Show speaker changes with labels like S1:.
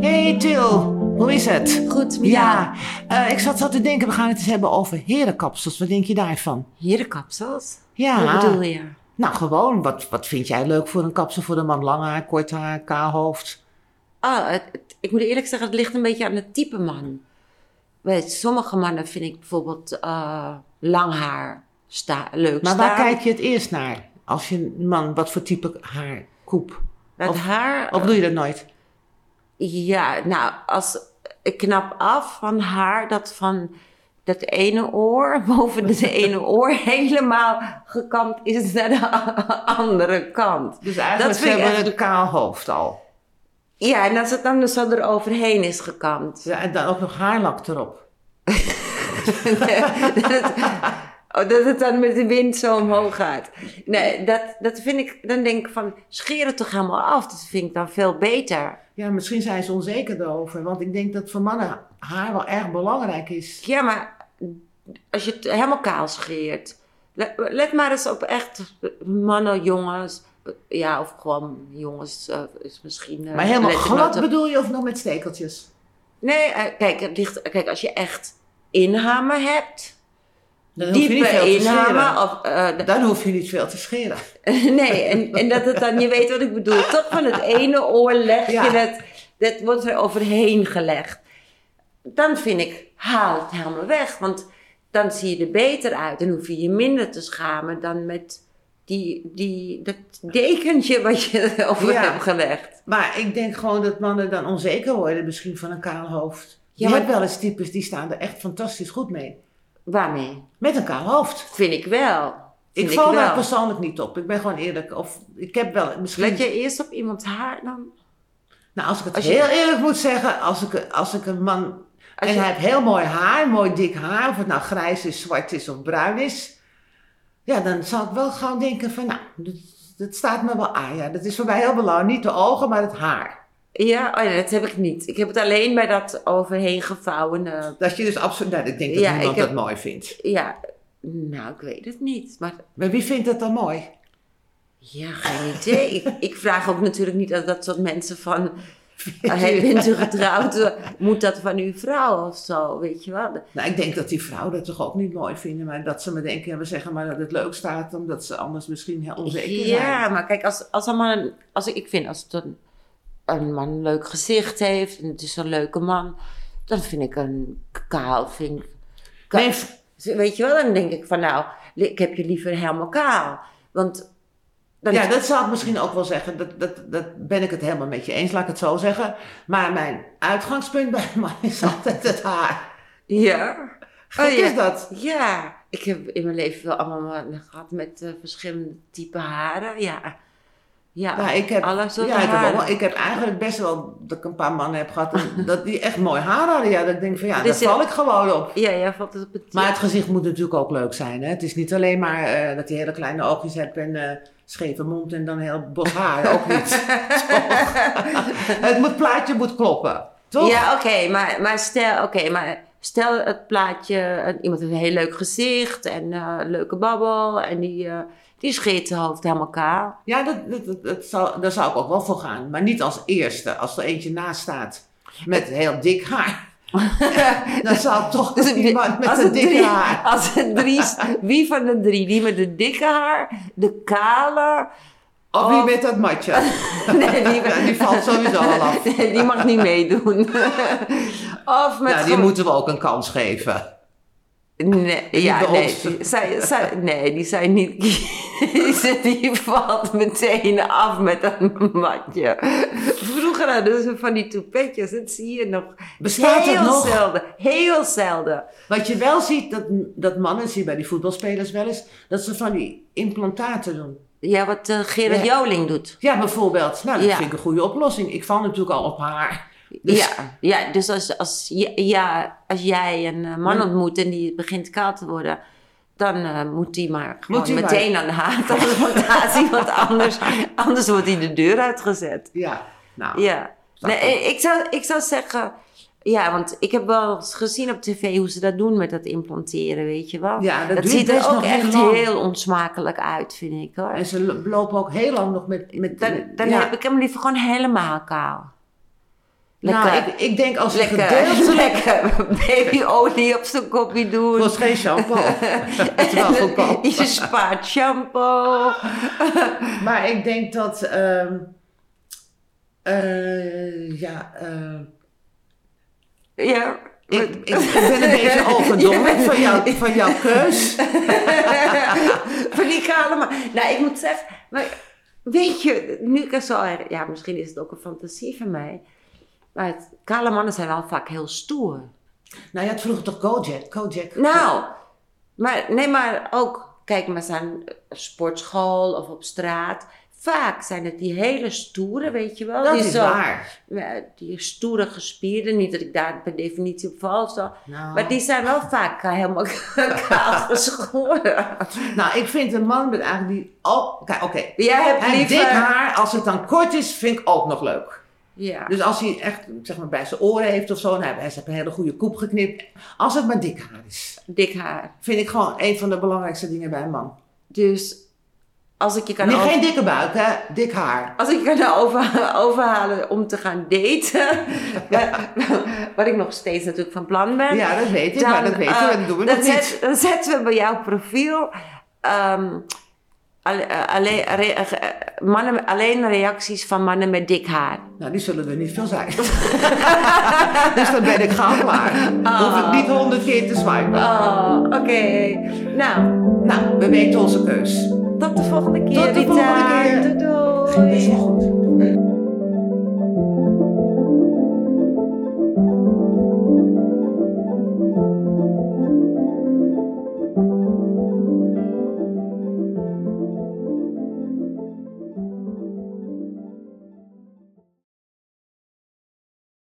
S1: Hey Til, hoe is het?
S2: Goed, Mia.
S1: Ja, eh, ik zat zo te denken, we gaan het eens hebben over herenkapsels. Wat denk je daarvan?
S2: Herenkapsels?
S1: Ja.
S2: Wat bedoel je?
S1: Nou, gewoon, wat, wat vind jij leuk voor een kapsel voor een man? Lang haar, kort haar, kaal hoofd?
S2: Ah, het- het- ik moet eerlijk zeggen, het ligt een beetje aan het type man. Bij sommige mannen vind ik bijvoorbeeld eh, lang haar sta- leuk
S1: Maar
S2: staan.
S1: waar kijk je het eerst naar? Als je een man, wat voor type haar koep?
S2: Het
S1: of-
S2: haar...
S1: Of doe je dat nooit?
S2: Ja, nou, als, ik knap af van haar dat van dat ene oor, boven het ene oor, helemaal gekamd is naar de a- andere kant.
S1: Dus eigenlijk
S2: dat vind ik
S1: hebben
S2: echt-
S1: we een kaal hoofd al.
S2: Ja, en als het dan dus zo eroverheen is gekamd.
S1: Ja, En dan ook nog haarlak erop.
S2: dat, het, oh, dat het dan met de wind zo omhoog gaat. Nee, dat, dat vind ik, dan denk ik van, scheer het toch helemaal af. Dat vind ik dan veel beter.
S1: Ja, misschien zijn ze onzeker erover. Want ik denk dat voor mannen haar wel erg belangrijk is.
S2: Ja, maar als je het helemaal kaal scheert. Let, let maar eens op echt mannen, jongens. Ja, of gewoon jongens eh, is misschien... eh,
S1: Maar helemaal
S2: let ik
S1: glad
S2: nooit op.
S1: bedoel je of nog met stekeltjes?
S2: Nee, eh, kijk, het ligt, kijk, als je echt inhamen hebt...
S1: Dan hoef je niet veel
S2: Diepe
S1: te scheren.
S2: inhamen. Of, eh,
S1: oh, Dan hoef je niet veel te scheren.
S2: Nee, en, en dat het dan, je weet wat ik bedoel, toch van het ene oor leg
S1: Ja.
S2: je het, dat wordt er overheen gelegd. Dan vind ik, haal het helemaal weg, want dan zie je er beter uit en hoef je je minder te schamen dan met die, die, dat dekentje wat je erover
S1: Ja.
S2: hebt gelegd.
S1: Maar ik denk gewoon dat mannen dan onzeker worden misschien van een kaal hoofd. Je
S2: Ja, maar-
S1: hebt wel eens types die staan er echt fantastisch goed mee.
S2: Waarmee?
S1: Met een kaal hoofd.
S2: Vind ik wel. Vind
S1: Ik val daar
S2: wel.
S1: persoonlijk niet op. Ik ben gewoon eerlijk. Of ik heb wel misschien...
S2: Let je eerst op iemands haar dan?
S1: Nou, als ik het
S2: Als je-
S1: heel eerlijk moet zeggen, als ik, als ik een man...
S2: Als
S1: en
S2: je-
S1: hij heeft heel mooi haar, mooi dik haar. Of het nou grijs is, zwart is of bruin is. Ja, dan zal ik wel gauw denken van, nou, dat, dat staat me wel aan. Ja, dat is voor mij heel belangrijk. Niet de ogen, maar het haar.
S2: Ja, oh ja, dat heb ik niet. Ik heb het alleen bij dat overheen gevouwen eh,
S1: Dat je dus absoluut... Nou, ik denk dat
S2: Ja,
S1: niemand
S2: ik heb-
S1: dat mooi vindt.
S2: Ja, nou, ik weet het niet. Maar
S1: Maar wie vindt dat dan mooi?
S2: ja, geen idee. ik, ik vraag ook natuurlijk niet aan dat soort mensen van... "Oh, Hey, bent u getrouwd? eh, Moet dat van uw vrouw of zo? Weet je wel?
S1: Nou, ik denk dat die vrouwen dat toch ook niet mooi vinden. Maar dat ze me denken, ja, we zeggen maar dat het leuk staat. Omdat ze anders misschien heel onzeker zijn.
S2: Ja, maar kijk, als, als een man... Als, ik- ik vind, als het een, een man een leuk gezicht heeft... en het is een leuke man... dan vind ik een kaal... Vind ik, ka-
S1: Nee,
S2: Weet je wel? Dan denk ik van nou... li- ik heb je liever helemaal kaal. Want... Dan
S1: Ja, dat zou ik misschien ook wel zeggen. Dat, dat, dat ben ik het helemaal met je eens, laat ik het zo zeggen. Maar mijn uitgangspunt bij een man is altijd het haar.
S2: ja.
S1: Gek
S2: Oh, ja.
S1: is dat?
S2: Ja, ik heb in mijn leven wel allemaal mannen gehad met eh, verschillende type haren. Ja, ja,
S1: Ja, Nou, ik heb,
S2: alle soorten
S1: ja, ik heb,
S2: haren.
S1: ook wel- ik heb eigenlijk best wel dat ik een paar mannen heb gehad en dat die echt mooi haar hadden. Ja, dat ik denk van ja,
S2: Dus je-
S1: daar val ik gewoon op.
S2: Ja, jij valt het op het...
S1: Maar het gezicht moet natuurlijk ook leuk zijn. Hè? Het is niet alleen maar eh, dat je hele kleine oogjes hebt en eh, scheve mond en dan een heel bos haar. Ook niet. Toch? het moet, plaatje moet kloppen. Toch?
S2: Ja, oké, maar, maar, stel, oké, maar stel het plaatje... eh, Iemand heeft een heel leuk gezicht en eh, een leuke babbel. En die, eh, die scheet zijn hoofd helemaal kaal.
S1: Ja, dat, dat, dat, dat zou, daar zou ik ook wel voor gaan. Maar niet als eerste. Als er eentje naast staat met
S2: Eh.
S1: heel dik haar. dan zou ik toch iemand met een
S2: Dus het
S1: dik
S2: drie,
S1: haar.
S2: Als het drie... Wie van de drie? Die met de dikke haar, de kale...
S1: Of
S2: Oh.
S1: wie met dat matje.
S2: Nee, die,
S1: Ja, die valt sowieso al af.
S2: Nee, die mag niet meedoen. of met
S1: nou, die
S2: gewoon-
S1: moeten we ook een kans geven.
S2: Nee, ja,
S1: bij
S2: nee,
S1: ons.
S2: die- zij, zij, nee, die zijn niet kiezen. Die valt meteen af met dat matje. Vroeger hadden ze van die toepetjes, dat zie je nog.
S1: Bestaat
S2: heel
S1: het nog?
S2: zelden, heel zelden.
S1: Wat je wel ziet, dat, dat mannen, zie je bij die voetbalspelers wel eens, dat ze van die implantaten doen.
S2: Ja, wat eh, Gerard
S1: Ja.
S2: Joling doet.
S1: Ja, bijvoorbeeld. Nou, dat
S2: Ja.
S1: vind ik een goede oplossing. Ik val natuurlijk al op haar. Dus-
S2: Ja, ja, dus als, als, j- ja, als jij een eh, man
S1: Hmm.
S2: ontmoet en die begint kaal te worden, dan eh, moet die maar gewoon
S1: die maar.
S2: meteen aan de haat aan de plantatie, want anders, anders wordt hij de deur uitgezet.
S1: Ja, nou.
S2: Ja.
S1: Snap
S2: Nee,
S1: ik.
S2: ik, ik zou, ik zou zeggen, ja, want ik heb wel eens gezien op tv hoe ze dat doen met dat implanteren, weet je wel.
S1: Ja, dat duurt
S2: ziet er
S1: best
S2: ook
S1: nog heel
S2: echt
S1: lang.
S2: heel onsmakelijk uit, vind ik hoor.
S1: En ze lo- lopen ook heel lang nog met... met
S2: Dan, dan
S1: ja.
S2: heb ik hem liever gewoon helemaal kaal. Lekker,
S1: Nou, ik, ik denk als we
S2: lekker,
S1: gedeeltelijk...
S2: lekker babyolie op zijn kopje doen.
S1: kost geen shampoo. Het is wel goedkoop.
S2: Je spaart shampoo.
S1: Maar ik denk dat, ehm, eh, ja, eh,
S2: Ja.
S1: ik, ik, ik ben een beetje overdonderd van, jou, van jouw keus.
S2: Van die kale man. Nou, ik moet zeggen, maar weet je, nu ik er zo her- ja, misschien is het ook een fantasie van mij, maar het, kale mannen zijn wel vaak heel stoer.
S1: Nou, je had vroeger toch Kojak? Kojak.
S2: Nou, maar nee, maar ook, kijk maar eens aan eh, sportschool of op straat. Vaak zijn het die hele stoere, weet je wel.
S1: dat
S2: die
S1: is
S2: zo-
S1: waar.
S2: ja, die stoere gespierden, niet dat ik daar per definitie op val of zo.
S1: Nou.
S2: Maar die zijn wel vaak ka- helemaal kaal geschoren.
S1: Nou, ik vind een man met eigenlijk die... Oh, kijk, oké.
S2: Jij hebt
S1: En
S2: liever-
S1: dik haar, als het dan kort is, vind ik ook nog leuk.
S2: Ja.
S1: Dus als hij echt, zeg maar, bij zijn oren heeft of zo, en hij hij heeft een hele goede koep geknipt. Als het maar dik haar is,
S2: dik haar.
S1: vind ik gewoon een van de belangrijkste dingen bij een man.
S2: Dus als ik je kan,
S1: Nee,
S2: over-
S1: geen dikke buik, hè? Dik haar.
S2: als ik je kan over- overhalen om te gaan daten, wat- wat ik nog steeds natuurlijk van plan ben.
S1: Ja, dat weet ik, maar dat weten
S2: eh,
S1: we, dat doen we
S2: dan
S1: nog
S2: zet-
S1: niet.
S2: Dan zetten we bij jouw profiel ehm, alle- eh, alleen, re- eh, mannen, alleen reacties van mannen met dik haar.
S1: Nou, die zullen er niet veel zijn. dus dan ben ik gauw klaar.
S2: Ah.
S1: Hoef ik niet honderd keer te swipen.
S2: Oh, oké. Nou,
S1: Nou, we weten onze keus.
S2: tot de volgende keer.
S1: Tot de volgende
S2: Rita.
S1: keer.
S2: Doei, doei.
S1: Ging best wel goed.